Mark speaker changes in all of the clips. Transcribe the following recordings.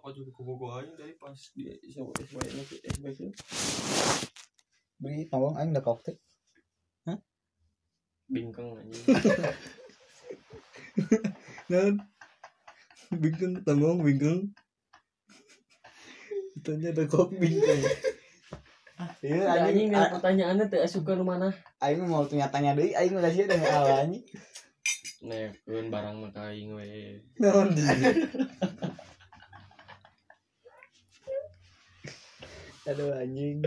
Speaker 1: baju koko aja tadi pas di siapa SBY itu SBY itu
Speaker 2: beli tolong aing udah koktek
Speaker 1: bingkeng aja
Speaker 3: Nah, bingkeng tanggung bingkeng. Tanya ada kok bingkeng.
Speaker 2: iya
Speaker 1: anjing
Speaker 3: ah.
Speaker 2: aing
Speaker 1: nggak pertanyaannya tuh suka rumah mana
Speaker 2: aing mau tanya-tanya deui aing udah sih dengan awalnya
Speaker 1: nekeun barang mah ka aing we
Speaker 3: Nah, di.
Speaker 2: aduh anjing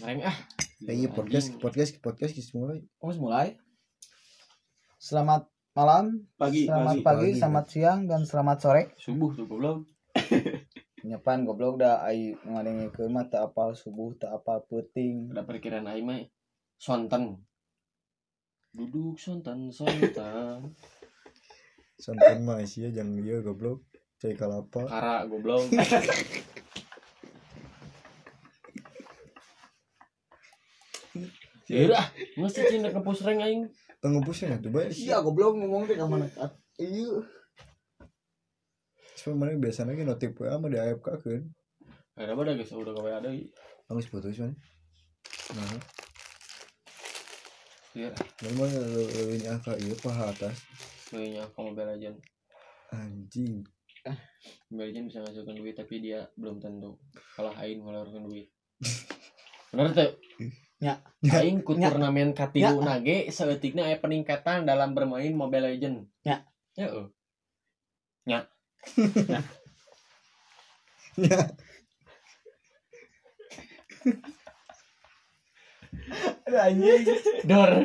Speaker 1: Barang ah
Speaker 3: Iya podcast
Speaker 1: Anjing.
Speaker 3: podcast podcast kita mulai.
Speaker 2: Terus mulai. Selamat malam,
Speaker 1: pagi pagi
Speaker 2: selamat pagi,
Speaker 3: Pagi.
Speaker 2: selamat siang, dan selamat sore.
Speaker 1: subuh tuh goblok
Speaker 2: Nyepan goblok dah ayu ngadengi ke mah tak apal subuh, tak apal puting.
Speaker 1: ada perkiraan aing mah sonten duduk sonten sonten
Speaker 3: Sonten Malaysia jangan dia goblok. Cai kalapa.
Speaker 1: kara goblok Yaudah, masih cinta ke pusreng aing
Speaker 3: Eh, Tengepusnya tuh baik.
Speaker 2: Iya, goblok ngomong teh ka mana? Iya.
Speaker 3: Cuma mana biasanya kan notif WA sama di AFK kan.
Speaker 1: Ada apa dah guys, udah kau ada
Speaker 3: Angus putus man. Nah, ya,
Speaker 1: Iya,
Speaker 3: normal lebih angka iya paha atas.
Speaker 1: kayaknya aku Mobile Legend.
Speaker 3: Anjing.
Speaker 1: Mobile Legend bisa ngasilkan duit tapi dia belum tentu kalah aing ngeluarkan duit. Bener tuh.
Speaker 2: Nya.
Speaker 1: Aing ku
Speaker 2: Nya.
Speaker 1: turnamen katilu nage saeutikna aya peningkatan dalam bermain Mobile Legend.
Speaker 2: Nya.
Speaker 1: Ya. eueuh.
Speaker 3: Ya,
Speaker 2: Aduh anjing.
Speaker 1: Dor.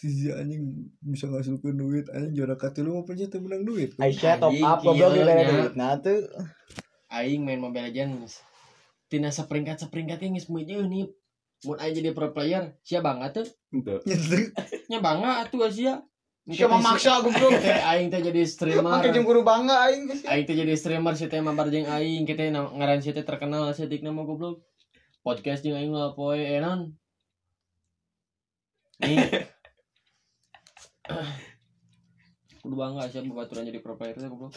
Speaker 3: si anjing bisa ngasilkan duit anjing juara katilu mau pencet menang duit.
Speaker 2: Aisyah top
Speaker 1: Anjing,
Speaker 2: up goblok
Speaker 1: iya,
Speaker 2: di bare
Speaker 1: nya.
Speaker 2: duit. Nah tuh
Speaker 1: Aing main Mobile Legends. Tina seperingkat seperingkatnya geus meujeun nih. Mun aing jadi pro player, sia bangga tuh.
Speaker 3: Nyetik.
Speaker 1: Nya bangga atuh sia.
Speaker 2: siapa maksa goblok.
Speaker 1: Teh aing teh jadi streamer.
Speaker 2: Pakai cemburu bangga aing geus.
Speaker 1: Aing teh jadi streamer sih teh mabar jeung aing kita ngaran sih teh terkenal sih dik nama goblok. Podcast jeung aing lah poe eh, enon. Nih. Kudu bangga sih babaturan jadi pro player teh goblok.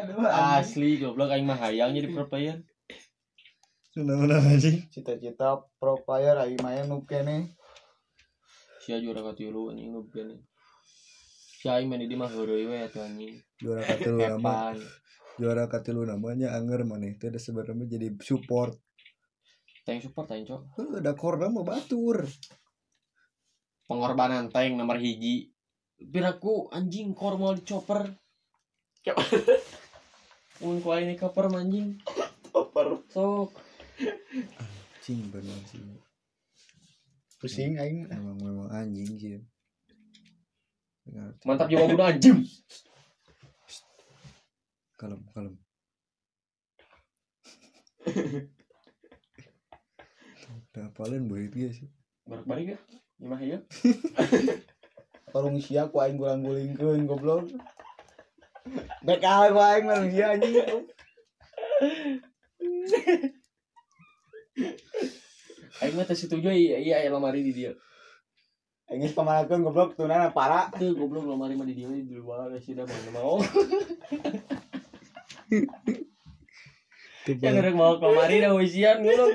Speaker 2: Aduh anjing.
Speaker 1: Asli goblok aing mah hayang jadi pro player.
Speaker 3: Senang-senang anjing.
Speaker 2: Cita-cita pro player aing mah nu kene.
Speaker 1: Sia juara katilu anjing nu gini. Si aing mah di mah heureuy we atuh anjing.
Speaker 3: Juara katilu
Speaker 1: Ya,
Speaker 4: Iya,
Speaker 3: nama.
Speaker 1: Evan.
Speaker 3: juara katilu namanya anger maneh teh da sebenarnya jadi support
Speaker 1: Tank support aing cok.
Speaker 3: Heuh, Kan ada korna mah batur
Speaker 1: Pengorbanan tank nomor hiji. Piraku anjing kor mau dicoper. Mun ku aing dikoper mah anjing.
Speaker 2: Over.
Speaker 1: Sok.
Speaker 3: cing bener sih
Speaker 2: Pusing aing.
Speaker 3: emang memang anjing sih Dengar.
Speaker 1: Mantap jiwa muda anjing.
Speaker 3: kalem kalem Udah apalin buat dia sih
Speaker 1: Balik-balik ya. Gimana ya?
Speaker 2: Warung sia ku aing gulang-gulingkeun goblok. Bek awe ku aing warung sia anjing.
Speaker 1: Aing mah teh setuju iya iya aya lemari di dia.
Speaker 2: Aing geus pamanakeun goblok tunana para.
Speaker 1: Tuh goblok lemari mah di dia di luar ya sih dah mana mau.
Speaker 3: Tuh,
Speaker 1: Ya
Speaker 3: Bang.
Speaker 1: ngerek mau ke lemari dah usian ngono.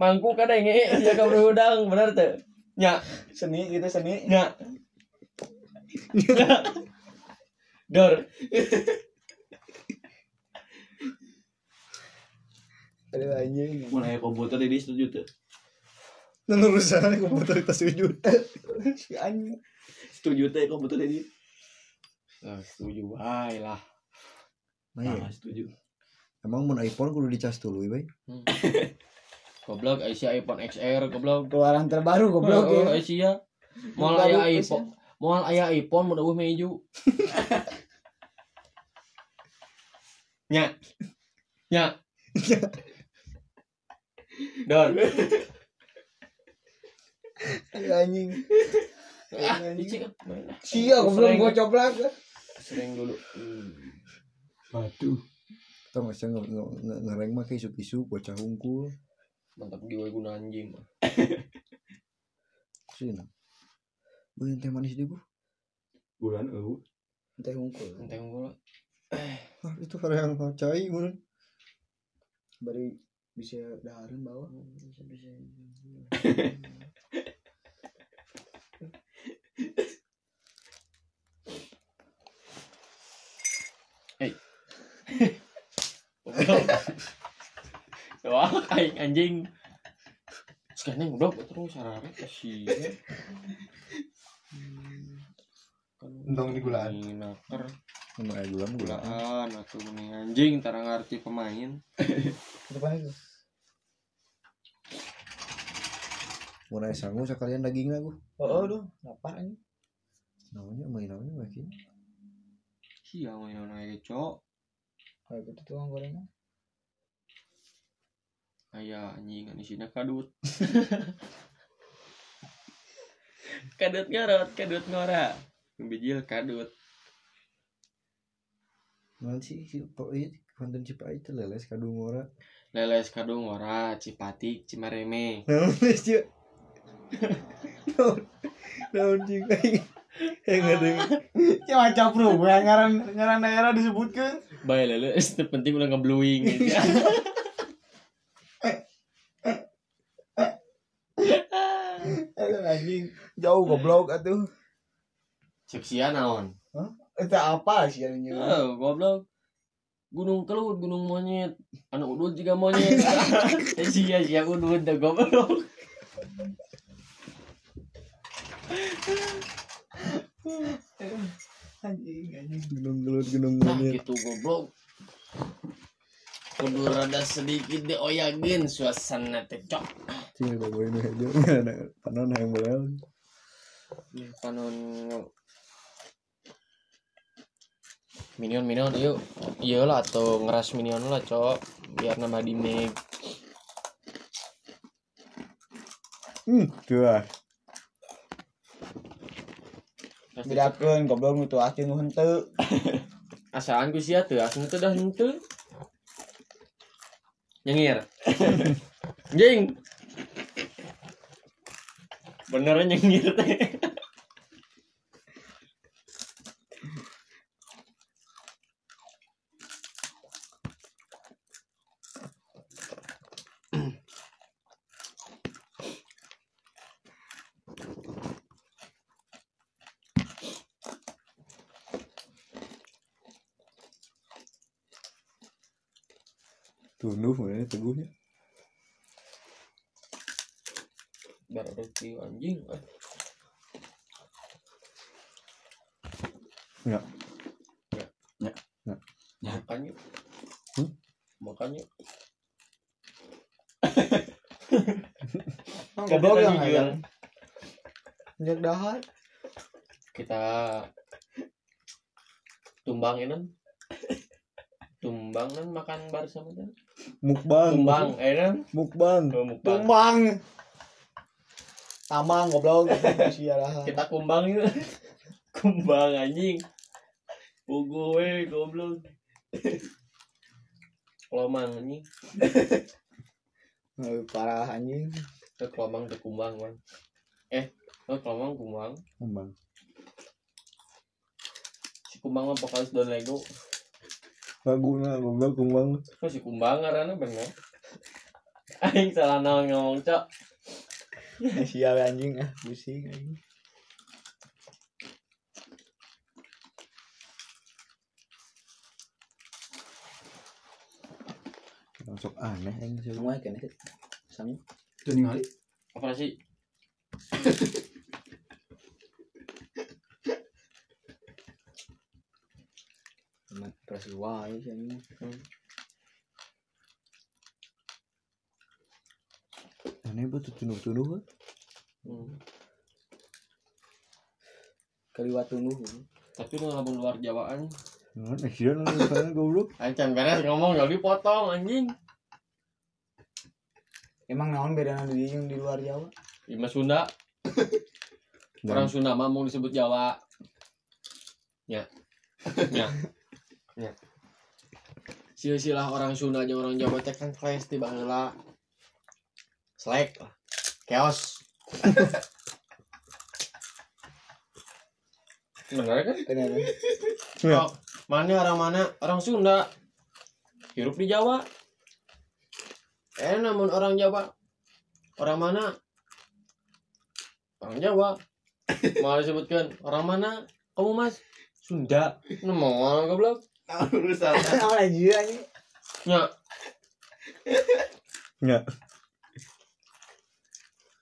Speaker 1: Mangku kada nge iya, sia ka berhudang bener teh. Nya,
Speaker 2: Seni gitu seni.
Speaker 1: nya. Nya. Dor.
Speaker 2: Aduh anjing.
Speaker 1: Mulai komputer di setuju tuh.
Speaker 3: Nah, urusan komputer kita sujud
Speaker 2: Si anjing.
Speaker 1: Setuju teh komputer di. setuju wae lah.
Speaker 3: Nah, iya.
Speaker 1: setuju.
Speaker 3: emang mun iPhone kudu dicas dulu ya
Speaker 1: Goblok Aisyah iPhone XR goblok.
Speaker 2: Keluaran terbaru goblok
Speaker 1: Heeh,
Speaker 2: iya. ya.
Speaker 1: Aisyah. Moal
Speaker 2: Baru
Speaker 1: aya
Speaker 2: Aisyah.
Speaker 1: iPhone. Moal aya iPhone mun eueuh meju. Nya. Nya. Dor.
Speaker 2: Aduh Iya, anjing. Iya,
Speaker 1: Ah, licik.
Speaker 2: Sia goblok
Speaker 1: Sering.
Speaker 2: gua coplak.
Speaker 1: Sering dulu. Hmm,
Speaker 3: tau nggak sih nge- nge- nge- ngereng mah kayak isu-isu bocah hungkul
Speaker 1: Mantap jiwa guna anjing.
Speaker 2: Sina.
Speaker 3: Beuin teh manis di gua.
Speaker 4: bulan eueuh.
Speaker 2: Teh hungkul.
Speaker 1: Ente unggul.
Speaker 3: Ah, itu horeang cai mun.
Speaker 2: Bari bisa dahareun bawa.
Speaker 1: Goblok. Wah, aing anjing. Sekarang goblok terus sarare sih.
Speaker 3: Entong di gulaan.
Speaker 1: Naker,
Speaker 4: Mun aya gula mah gula.
Speaker 1: gulaan atuh mending anjing tara ngarti pemain.
Speaker 2: Depan itu.
Speaker 3: Mun aya sangu sakalian dagingna gua.
Speaker 2: Oh, oh dong. Lapar anjing.
Speaker 3: Naonnya mah naonnya mah kieu.
Speaker 1: Sia main Iya, naik cok.
Speaker 2: Kayak gitu tuh gorengan.
Speaker 1: Aya anjing anu sina kadut. kadut ngorot, kadut ngora. Bijil kadut.
Speaker 3: Naon sih si po ieu konten Cipai teh leles kadung ora.
Speaker 1: Leles kadung ngora, cipati, cimareme.
Speaker 3: Naon leles ieu? Naon? Naon Cipai? Eh ngadeng.
Speaker 2: Cuma capru, gue ngaran ngaran daerah disebutkan.
Speaker 1: Bae leles, teu penting udah ngebluing gitu.
Speaker 2: Aduh anjing, jauh goblok atuh.
Speaker 1: Cek sia naon?
Speaker 2: Itu apa sih anjing?
Speaker 1: Eh, goblok. Gunung kelut, gunung monyet. Anu udud juga monyet. Eh, sia sia udud dah goblok.
Speaker 2: Anjing, anjing.
Speaker 3: Gunung gelut gunung
Speaker 1: Nah,
Speaker 3: monyet.
Speaker 1: gitu goblok. Kudu rada sedikit dioyagin suasana teh cok.
Speaker 3: Cing ada boy mah aja. Panon hayang belel.
Speaker 1: panon minion minion yuk iya lah atau ngeras minion lah cok biar nambah di meg
Speaker 3: Hmm, tuh ah.
Speaker 2: Bedakeun goblok nu teu acing nu henteu.
Speaker 1: asaan ku sia teu asli teu dah henteu nyengir jing beneran nyengir teh
Speaker 3: Tunduh mana teguhnya.
Speaker 1: berarti anjing
Speaker 3: Enggak.
Speaker 4: Ya.
Speaker 3: Ya.
Speaker 4: Ya.
Speaker 1: makanya
Speaker 3: Hmm?
Speaker 1: makanya
Speaker 2: Goblok
Speaker 1: Tadi
Speaker 2: yang
Speaker 1: tadi
Speaker 2: ayam.
Speaker 1: jual.
Speaker 2: Injak dahar.
Speaker 1: kita tumbangin tumbangan makan bersama kan
Speaker 3: Mukbang.
Speaker 1: tumbang enan
Speaker 3: Mukbang.
Speaker 1: Oh, mukbang
Speaker 2: Tumbang. Tamang goblok sia dahar.
Speaker 1: kita kumbangin kumbang anjing buku we goblok kelomang anjing
Speaker 2: Eh, Parah anjing.
Speaker 1: ke kelomang ke kumbang man eh ke kelomang kumbang
Speaker 3: Mukbang.
Speaker 1: si kumbang mah bakal don lego
Speaker 3: Laguna goblok kumbang.
Speaker 1: kok si kumbang karena bener aing salah naon ngomong cok
Speaker 2: Sia we anjing ah, pusing anjing.
Speaker 3: Langsung aneh yang sih.
Speaker 2: Semua kene. Sami.
Speaker 4: Teu ningali.
Speaker 1: apa sih
Speaker 2: Terus wae sih ya, anjing.
Speaker 3: Aneh betul tunduh-tunduh.
Speaker 1: Hmm.
Speaker 2: Kaliwat tunggu.
Speaker 1: tapi nu lamun luar Jawaan
Speaker 3: Nah, akhirnya lu sana goblok.
Speaker 1: Aing can beres ngomong jadi potong anjing.
Speaker 2: Emang naon bedana di yang di luar Jawa?
Speaker 1: Ima Sunda, orang
Speaker 3: Dan
Speaker 1: Sunda mah mau disebut Jawa. Ya. Ya. Ya. Silsilah orang Sunda jeung orang Jawa teh kan clash di baheula. Selek lah. Chaos. bener kan
Speaker 2: Kenapa?
Speaker 3: Ya.
Speaker 1: Oh, mana orang mana orang Sunda hirup di Jawa eh namun orang Jawa orang mana orang Jawa mau disebutkan orang mana kamu mas Sunda nemu orang goblok
Speaker 4: urusan
Speaker 2: Kenapa lagi aja?
Speaker 1: ya
Speaker 3: Nggak.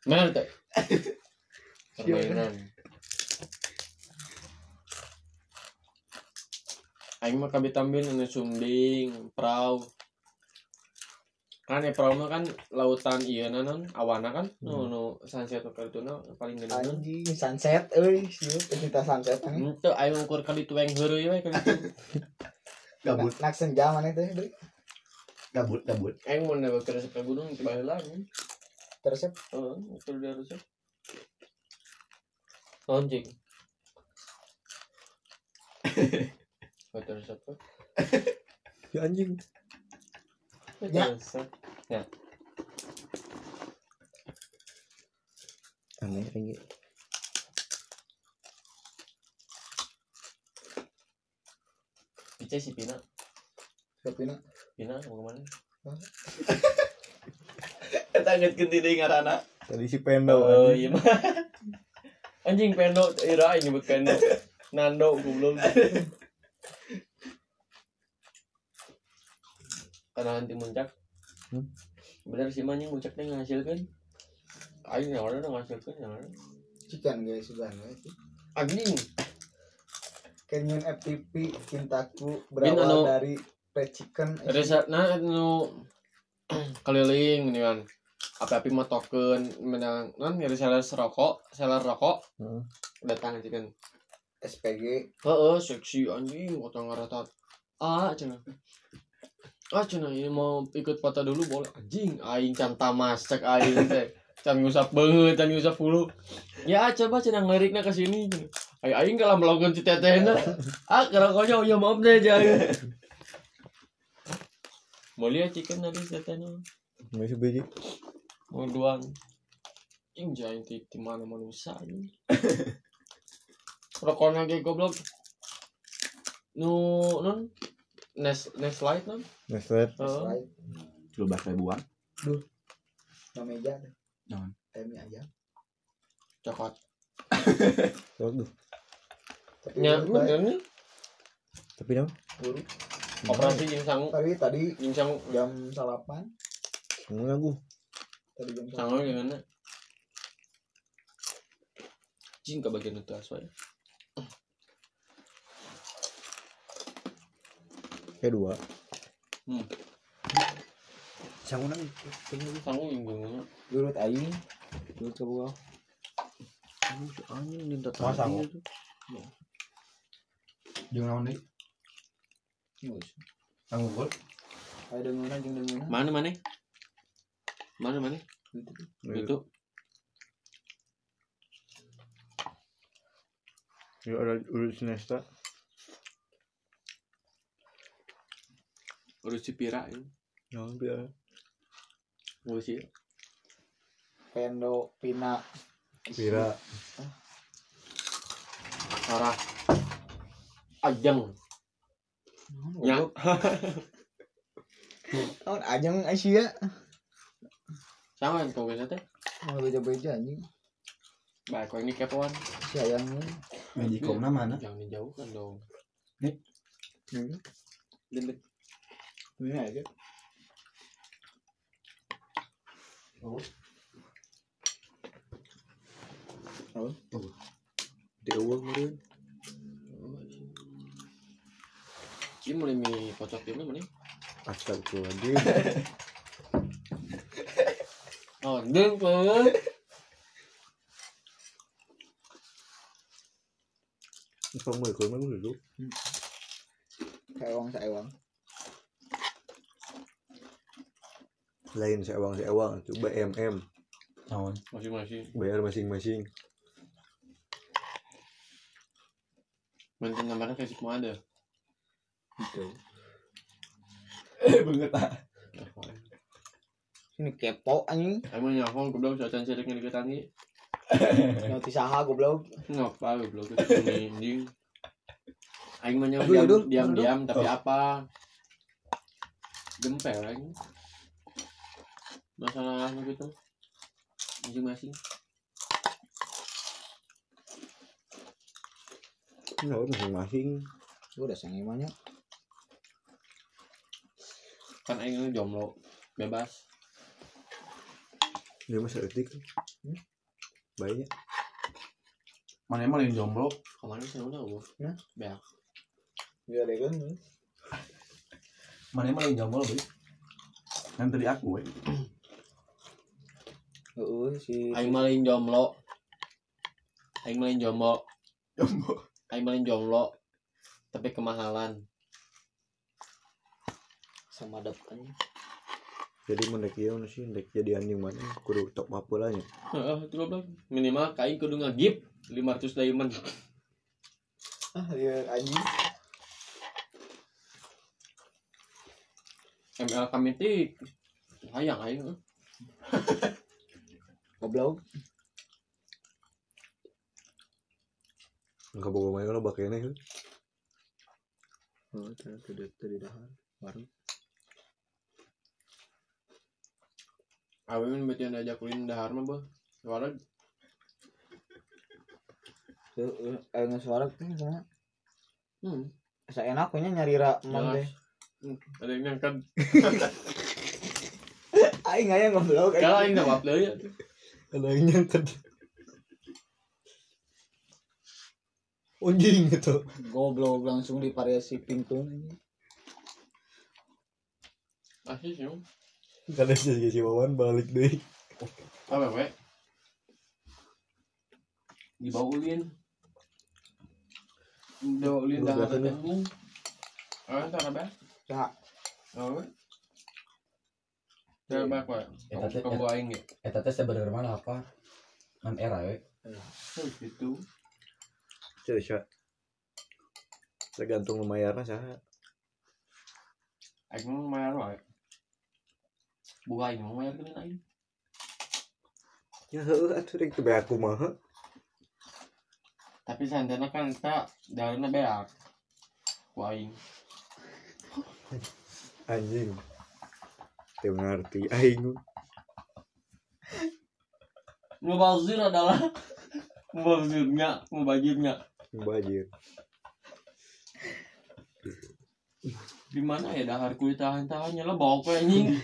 Speaker 1: bener teh permainan Aing mah anu kabi tampil ini sumbing, perahu. Kan ya perahu mah kan lautan iya nanon awana kan, nu nu sunset waktu itu nu paling gede naon.
Speaker 2: Anjing sunset, euy, siup cerita sunset. anjing.
Speaker 1: Itu aing ukur kali tueng heureuy we kan itu.
Speaker 5: Nah,
Speaker 4: gabut
Speaker 2: Nak senja mana teh, Bri?
Speaker 4: gabut gabut
Speaker 1: Aing mun neuk ke resep ka gunung teu baheula.
Speaker 2: Terus
Speaker 1: Heeh, ukur di resep. Anjing. Hotel resep. we.
Speaker 3: Ya anjing.
Speaker 1: Hotel
Speaker 2: Ya.
Speaker 1: resep.
Speaker 3: Aneh lagi.
Speaker 1: Pice si Pina.
Speaker 2: Kepina.
Speaker 1: Pina mau kemana?
Speaker 4: kita ngetkeun di ngarana
Speaker 3: Tadi si Pendo. kan.
Speaker 1: Oh
Speaker 3: anjing.
Speaker 1: iya mah. Anjing Pendo, Ira yang nyebut Pendo. Nando goblok. Karena nanti muncak.
Speaker 3: Hmm.
Speaker 1: Bener sih manjing muncak teh ngahasilkeun. Aing yang orang ngahasilkeun yang orang.
Speaker 2: Cikan guys, sudah guys.
Speaker 1: Anjing,
Speaker 2: Canyon FTP cintaku
Speaker 1: Bin,
Speaker 2: berawal
Speaker 1: anu-
Speaker 2: dari fried chicken. eh,
Speaker 1: resepna nah, nu keliling ini kan. Api-api mah token menang non nyari seller rokok, seller rokok
Speaker 3: Heeh.
Speaker 1: datang sih kan.
Speaker 2: SPG
Speaker 1: Heeh, seksi anjing kota ngaratat. Ah, cenah. Ah, cenah ini mau ikut foto dulu boleh. Anjing, aing can tamas cek aing teh. Can ngusap beungeut, can ngusap hulu. Ya, coba cenah ngelirikna ke sini. cenah. Aing aing kalah melakukan si tetehna. Ah, karakonya oh ya maaf deh jaya. Mau lihat chicken tadi si tetehna.
Speaker 3: Nggak sih biji.
Speaker 1: Mau doang. Anjing jaya di di mana manusia anjing. Rokokna ge goblok. Nu non Nes Nes light non.
Speaker 3: Neslet.
Speaker 1: Heeh.
Speaker 2: slide
Speaker 4: coba Oh. ribuan
Speaker 2: no meja.
Speaker 4: Naon?
Speaker 2: Temi aja.
Speaker 1: Cokot.
Speaker 3: Waduh.
Speaker 2: Tapi
Speaker 4: Ya.
Speaker 1: Nya
Speaker 2: lebih baik,
Speaker 1: bener nih.
Speaker 3: Tapi dong.
Speaker 2: guru.
Speaker 1: Operasi jeng sangu.
Speaker 2: Tadi tadi
Speaker 1: Jeng sangu.
Speaker 2: jam salapan.
Speaker 3: Seneng aku.
Speaker 2: Tadi jam salapan.
Speaker 1: Sangu gimana? Jing ke bagian itu aswa ya.
Speaker 3: Kayak dua.
Speaker 1: Hmm.
Speaker 3: Sangunang.
Speaker 1: Sangu yang gimana?
Speaker 2: Guru aing. Guru ke bawah.
Speaker 3: Anjing minta
Speaker 4: Mau sangu?
Speaker 3: tadi.
Speaker 2: Iya.
Speaker 4: jeung naon deui
Speaker 2: Ngus.
Speaker 4: tanggung gol
Speaker 2: Iya, Ayo dengeran jeung dengeran.
Speaker 1: Mana mana? Mana mana?
Speaker 3: Itu.
Speaker 1: Itu.
Speaker 3: Ya ada urut sinesta.
Speaker 1: Urus si pira ya.
Speaker 3: Nah, biar.
Speaker 1: Urus si
Speaker 2: Pendo Pina.
Speaker 4: Pira
Speaker 1: Sarah. Ajeng. Ya.
Speaker 2: Naon ajeng Asia.
Speaker 1: Sama yang kau biasa teh.
Speaker 2: Mau beja-beja anjing.
Speaker 1: Baik, kau ini kepoan.
Speaker 2: Sayang.
Speaker 4: magicomna mana
Speaker 1: Jangan dijauhkan dong.
Speaker 2: Gendek. Hmm, Ini aja.
Speaker 4: di eueuh meureun
Speaker 1: Ini mulai mi kocok ini mana?
Speaker 3: Astagfirullahaladzim.
Speaker 1: Oh, deng ke.
Speaker 3: Không mời cưới mấy người giúp.
Speaker 2: Kayak uang saya uang.
Speaker 3: Lain saya uang saya uang. Itu BMM.
Speaker 4: naon
Speaker 1: Masih masih.
Speaker 3: Bayar masing-masing.
Speaker 1: Mantan gambarnya kayak si ada.
Speaker 2: Gitu.
Speaker 4: beungeut ah
Speaker 2: Ini kepo anjing.
Speaker 1: Emang nyafong goblok jajan sedeknya diketangi.
Speaker 2: Nyoti saha goblok.
Speaker 1: Ngapa goblok itu anjing. aing mah
Speaker 4: Aduh, Idul,
Speaker 1: diam diam diam tapi
Speaker 4: Oh.
Speaker 1: apa gempel aing masalah nu gitu masing-masing
Speaker 4: Ini
Speaker 3: Nah,
Speaker 4: lawan masing-masing.
Speaker 2: Lu udah sange banyak.
Speaker 1: kan aing nu jomblo bebas
Speaker 4: Dia masih etik.
Speaker 2: Hmm.
Speaker 4: Banyak.
Speaker 5: Mana emang yang jomblo?
Speaker 1: kemana sih udah gua
Speaker 2: Nah.
Speaker 1: beak
Speaker 2: Iya deh kan.
Speaker 5: Mana emang yang jomblo, Bi? Yang tadi aku, we.
Speaker 2: Heeh, si
Speaker 1: aing mah lain jomblo aing mah lain jomblo
Speaker 5: Jomblo.
Speaker 1: aing mah lain jomblo tapi kemahalan
Speaker 2: sama depannya.
Speaker 4: Jadi mendek ieu nu sih mendek jadi anjing mana kudu top ya. apeula nya.
Speaker 1: Heeh, itu goblok. minimal kain kudu ngagip 500 diamond
Speaker 2: Ah, iya anjing.
Speaker 1: ML kami tik sayang aing eh.
Speaker 2: Goblok.
Speaker 4: Engka boga main loba keneh.
Speaker 2: Oh, tadi tadi tadi dahar. Baru.
Speaker 1: Awewe berarti yang diajak kulin dahar mah bah Warna
Speaker 2: Heeh, aing suara teh sana.
Speaker 1: hmm,
Speaker 2: Saya enak punya nyari ra emang
Speaker 1: jelas
Speaker 2: teh.
Speaker 1: Hmm, Ada yang ngangkat
Speaker 2: Aing aya goblok. aing.
Speaker 1: Kalau yang jawab deh ya
Speaker 4: Ada yang nyangket. Anjing gitu.
Speaker 2: Goblok langsung di variasi pingpong anjing.
Speaker 1: Asli sih ya, Om.
Speaker 4: Kada jadi si Wawan balik deui.
Speaker 1: Awewe Dibawa ulin Dibawa ulin
Speaker 4: Lu
Speaker 1: dahar
Speaker 4: biasa nih.
Speaker 1: tanggung Awewe tak apa
Speaker 2: Ya,
Speaker 1: Awewe Jangan banyak pak
Speaker 5: Eta teh-
Speaker 1: Kamu aing ya
Speaker 5: Eta teh sebenarnya mana apa? Ngan era, we.
Speaker 1: Oh, Gitu
Speaker 4: Cerita. Tergantung lumayan saha.
Speaker 1: Aing mau mayar wae Buka aing mau mayar kena aing
Speaker 4: Ya heuh atuh rek teu beak kumaha.
Speaker 1: Tapi santana kan tak Daharna beak Ku aing
Speaker 4: Anjing. Teu ngarti aing.
Speaker 1: Mubazir adalah Mubazir nggak, mubazir nggak.
Speaker 4: Bajir.
Speaker 1: Di mana ya dahar kulit tahan-tahannya lah bawa ke anjing.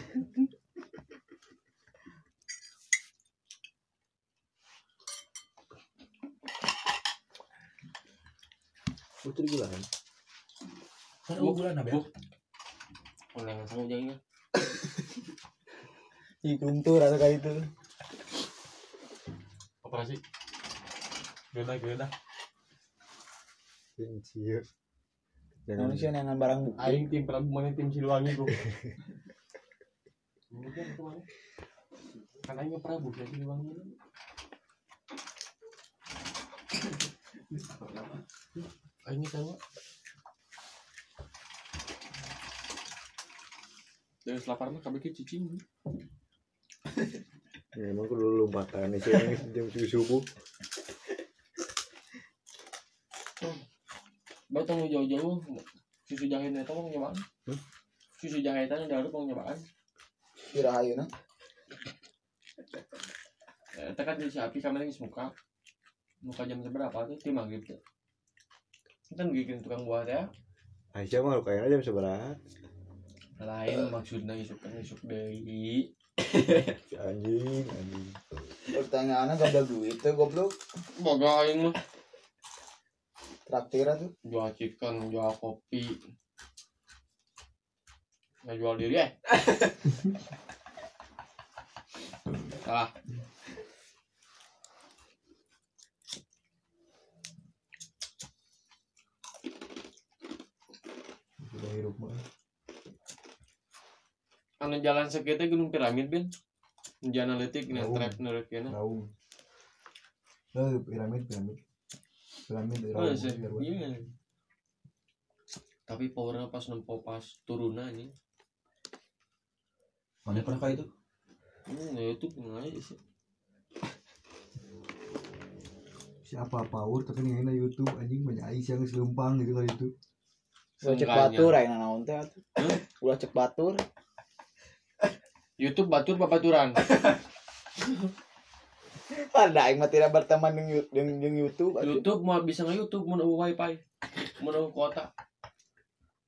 Speaker 4: Putri gula kan.
Speaker 5: Kan oh, bulan nabe.
Speaker 1: Bu. Oleh yang sama jadinya.
Speaker 2: si kuntur atau kayak itu.
Speaker 1: Operasi. Gila gila.
Speaker 4: Cieu. Jangan
Speaker 2: Manusia nengan barang bukti.
Speaker 1: Aing tim Prabu mana tim Siliwangi bro. Kan aing Prabu dari Siliwangi. Aing sama. Dari selapar mah kabeh cicing.
Speaker 4: Ya, emang kudu lompatan nih sih jam tujuh subuh.
Speaker 1: Baca mau jauh-jauh susu jahe itu mau nyobaan
Speaker 4: Hmm?
Speaker 1: susu jahe itu udah mau nyobaan
Speaker 2: Kira ayu nah.
Speaker 1: kita kan di api kemarin geus muka muka jam seberapa tuh tim maghrib tuh kan bikin tukang buah teh
Speaker 4: Aisyah mah kayaknya jam seberapa?
Speaker 1: lain maksudnya isuk kan isuk dari
Speaker 4: Si Anjing, anjing.
Speaker 2: Pertanyaannya gak ada duit tuh goblok.
Speaker 1: boga aing mah
Speaker 2: Traktir tuh.
Speaker 1: jual chicken jual kopi nggak jual diri eh salah
Speaker 4: Udah hirup mah.
Speaker 1: anu jalan sekitar gunung piramid ben jalan analitik nih
Speaker 3: Jauh.
Speaker 1: trap nurut kena
Speaker 3: Raung. Eh, piramid, piramid. Piramid dari
Speaker 1: Oh,
Speaker 3: Raung.
Speaker 1: sih.
Speaker 3: Biar buat-
Speaker 1: Iya. Tapi powernya pas nempo pas turunan nih.
Speaker 5: Mana pernah kayak itu?
Speaker 1: Hmm, ya itu gimana aja sih.
Speaker 3: Siapa power tapi ngena YouTube anjing banyak aing yang selumpang gitu kali itu.
Speaker 2: Ulah cek
Speaker 1: Seenggaknya.
Speaker 2: batur ayeuna naon teh atuh.
Speaker 1: Hah?
Speaker 2: Ulah cek batur.
Speaker 1: YouTube batur babaturan.
Speaker 2: Pada aing mah tidak berteman dengan Yu- dengan dengan YouTube atuh.
Speaker 1: YouTube mau bisa nge YouTube mau nunggu wifi, mau nunggu kuota.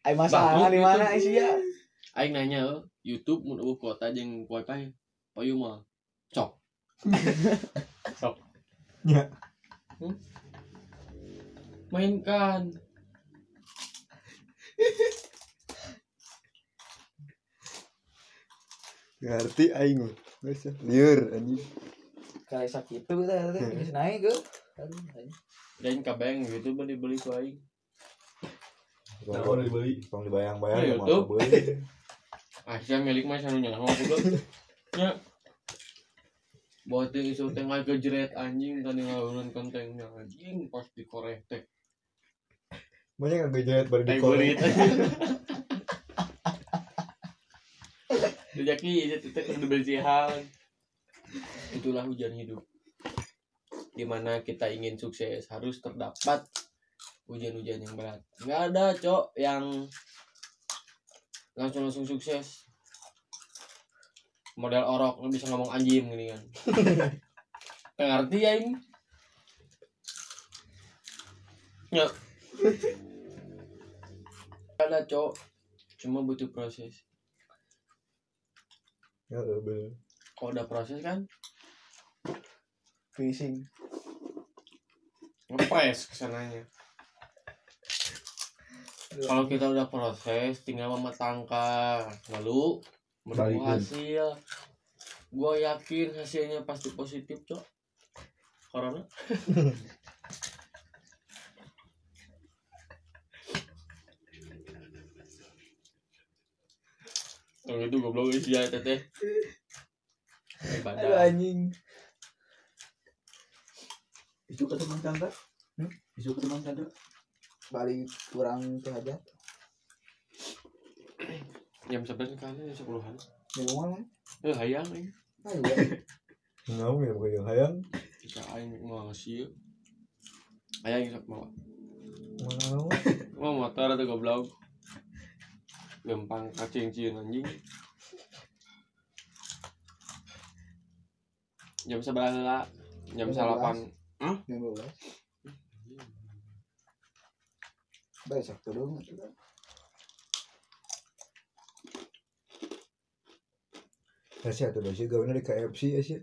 Speaker 2: Aing
Speaker 1: Bagus
Speaker 2: masalah di mana
Speaker 1: YouTube.
Speaker 2: sih ya?
Speaker 1: Aing nanya eh, YouTube mau nunggu kuota jeung wifi, payu mah cok. cok.
Speaker 4: Ya.
Speaker 1: Hmm? Mainkan.
Speaker 4: ngerti aing mah. Geus ya. lieur anjing
Speaker 2: Kalau sakit tuh teh teh
Speaker 1: Hmm.
Speaker 2: geus naik ke. Aduh, anjing.
Speaker 1: Dan kabeng YouTube beli beli ku aing.
Speaker 5: Kalau dibeli
Speaker 4: Tong dibayang-bayang
Speaker 1: Ya,
Speaker 4: ya, mah
Speaker 1: YouTube.
Speaker 4: beuih.
Speaker 1: Ah, siya milik mah sanunya sama goblok. Nya. Bawa teh isu teh ngagejret anjing tadi ngawulan kentengnya anjing pas dikorek teh.
Speaker 4: banyak yang gejat baru
Speaker 1: Teh
Speaker 4: dikorek.
Speaker 1: kulit. Dejaki itu teh kudu bersihan. Itulah hujan hidup. Di mana kita ingin sukses harus terdapat hujan-hujan yang berat. Enggak ada, Cok, yang langsung-langsung sukses. Modal orok lu bisa ngomong anjing gini kan. Nggak ngerti ya ini. Ya. Nggak ada, Cok. Cuma butuh proses.
Speaker 4: Ya, bener.
Speaker 1: kalau udah proses kan
Speaker 2: Finishing.
Speaker 1: ngepres ya kesananya kalau kita udah proses tinggal mematangkan lalu menunggu
Speaker 5: Balikin.
Speaker 1: hasil gue yakin hasilnya pasti positif cok corona Kalau itu goblok sih ya teteh. Eh,
Speaker 2: Aduh
Speaker 1: Badai.
Speaker 2: anjing.
Speaker 5: Itu ke teman Chandra
Speaker 2: Hmm?
Speaker 5: Itu ke teman Chandra
Speaker 2: Balik kurang ya? tuh aja.
Speaker 1: Jam sebelas kan jam sepuluhan.
Speaker 2: Di rumah mah.
Speaker 1: Eh hayang ini.
Speaker 2: Ayo. ya.
Speaker 4: Ngau ya bukan yang hayang.
Speaker 1: Jika aing mau ngasih Aing isap mau
Speaker 4: Mana ngau?
Speaker 1: Mau motor atau goblok Gampang kacing-cian anjing Jam sebelah lah Jam
Speaker 2: Jam
Speaker 1: salapan
Speaker 2: Yang bawah. Besok tuh dong.
Speaker 4: Ya sih atuh sih gaulnya di KFC ya sih.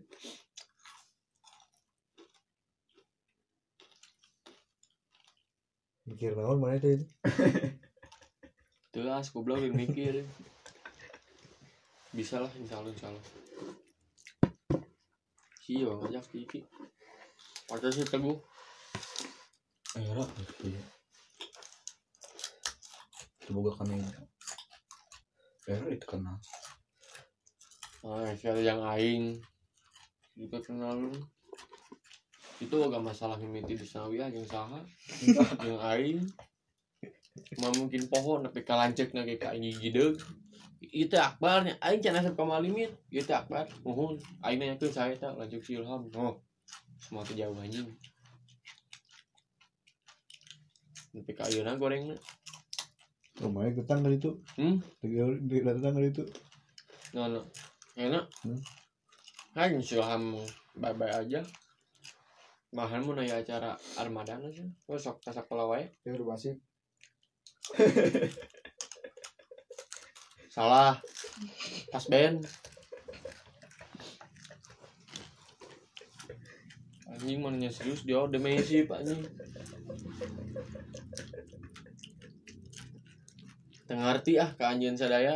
Speaker 4: Mikir naon mana itu itu?
Speaker 1: Telas goblok yang mikir Bisa lah insya Allah insya Allah Iya ngajak Kiki Pacar sih teguh
Speaker 5: Era Iya. Semoga kami Era itu kenal
Speaker 1: Ah, siapa yang aing juga kenal itu gak masalah mimiti di sawia yang saha yang aing mah mungkin pohon tapi kalancek nake ke aing gideg itu akbarnya aing can asap ka malimit itu akbar muhun aing nanya ke saya tak lanjut si ilham oh semua teu jauh anjing tapi ka ayeuna gorengna
Speaker 4: Rumahnya tetangga itu.
Speaker 1: Hmm?
Speaker 4: Di di tetangga itu.
Speaker 1: No, no. Enak.
Speaker 4: Hmm.
Speaker 1: Kan silahkan bye-bye aja. Bahan mau nanya acara Armada aja. Wah, sok tasak pelawai.
Speaker 2: Ya udah masih.
Speaker 1: Salah. Pas band. Anjing mananya serius dia udah mesif anjing. Tengarti ah ke anjing sadaya.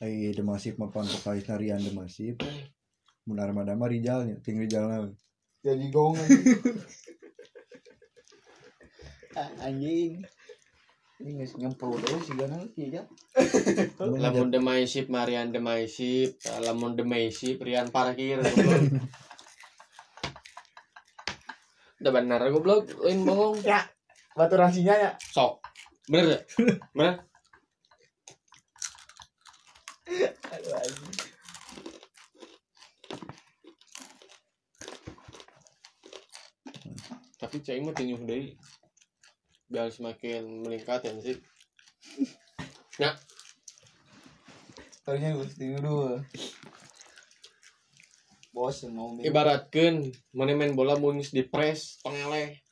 Speaker 4: Ai demasif mah pang vokalis narian demasif. Mun armada mah Rijalnya, ting Rijalna.
Speaker 2: Jadi gong kan? anjing. Ah, anjing. Ini nggak nyempol dulu sih kan iya kan.
Speaker 1: Lamun demaisip Marian demaisip, eh, lamun demaisip Rian parkir goblok. Udah benar goblok, lain bohong.
Speaker 2: Batu rasinya ya.
Speaker 1: Sok. Bener gak? Bener.
Speaker 2: Aduh anjing.
Speaker 1: Tapi cai mah teu nyuh deui. biar semakin meningkat ya sih
Speaker 2: Terusnya Gusti dulu. Bos mau minum.
Speaker 1: ibaratkan mana main bola mun geus di press pengeleh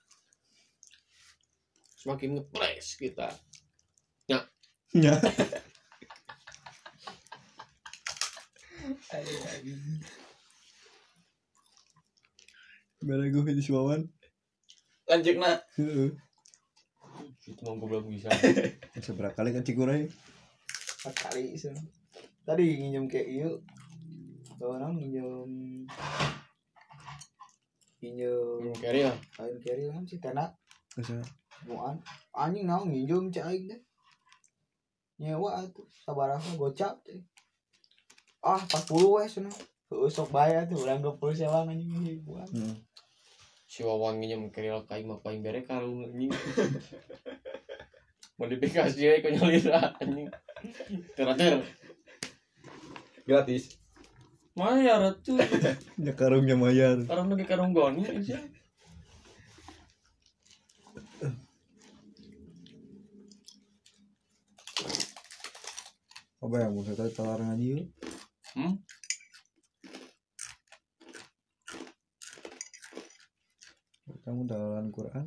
Speaker 1: semakin ngepres kita
Speaker 4: Ya. Gara gue di Siwawan.
Speaker 5: lanjut nak
Speaker 4: Heeh.
Speaker 1: itu mah goblok bisa
Speaker 4: Seberapa kali kan cigurai?
Speaker 2: Empat kali sih. Tadi nginjem kayak ieu. Tuh orang nginjem nginjem
Speaker 1: carry ya
Speaker 2: kain carry kan si Tena
Speaker 4: Masa
Speaker 2: buan anjing naon nginjem cai aing teh. Nyewa atuh sabaraha gocap teh. Ah 40 we cenah. Heuh sok bayar tuh urang 20 sewa anjing buan.
Speaker 4: Heeh.
Speaker 1: si wawan ngenyam carry lah kain mah paling bere karung anjing modifikasi ya kau nyalira anjing terakhir
Speaker 5: gratis
Speaker 1: mana ya ratu
Speaker 4: Ya karungnya mayar.
Speaker 1: orang lagi karung goni aja
Speaker 4: Apa yang mau saya talar ngaji yuk?
Speaker 1: hmm?
Speaker 4: Kamu talaran Quran?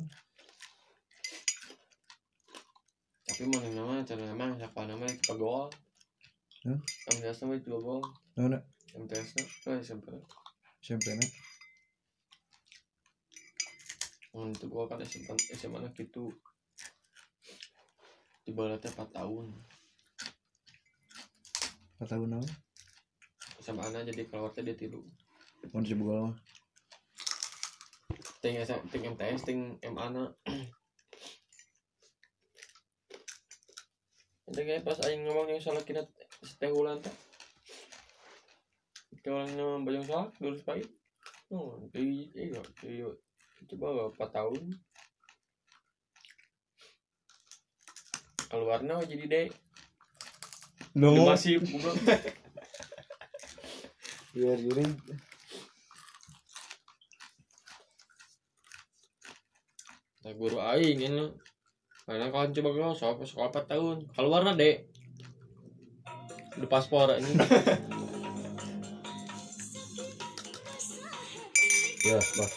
Speaker 1: tapi mana nama cara nama siapa nama itu pegol
Speaker 4: Hmm?
Speaker 1: MTS nama itu pegol
Speaker 4: Nah, nah,
Speaker 1: MTS nama itu SMP
Speaker 4: SMP na.
Speaker 1: Mun itu gua kan SMA SMA na gitu. Di baratnya 4 tahun.
Speaker 4: Empat tahun naon?
Speaker 1: SMA na jadi keluar teh dia tilu.
Speaker 4: Mau disebut mah?
Speaker 1: Ting SM, ting MTS, ting MA na. Itu kayak pas aing ngomong yang salah kina setiap bulan teh. Itu orang yang banyak salah, lurus pahit. Oh, jadi iya, jadi coba 4 tahun. Keluarnya jadi deh,
Speaker 4: Lo
Speaker 1: masih goblok.
Speaker 2: Biar juring.
Speaker 1: Nah, guru aing ini. Karena kalau coba kalau sekolah, sekolah 4 tahun. Keluar lah, Dek. Di paspor ini.
Speaker 5: ya bah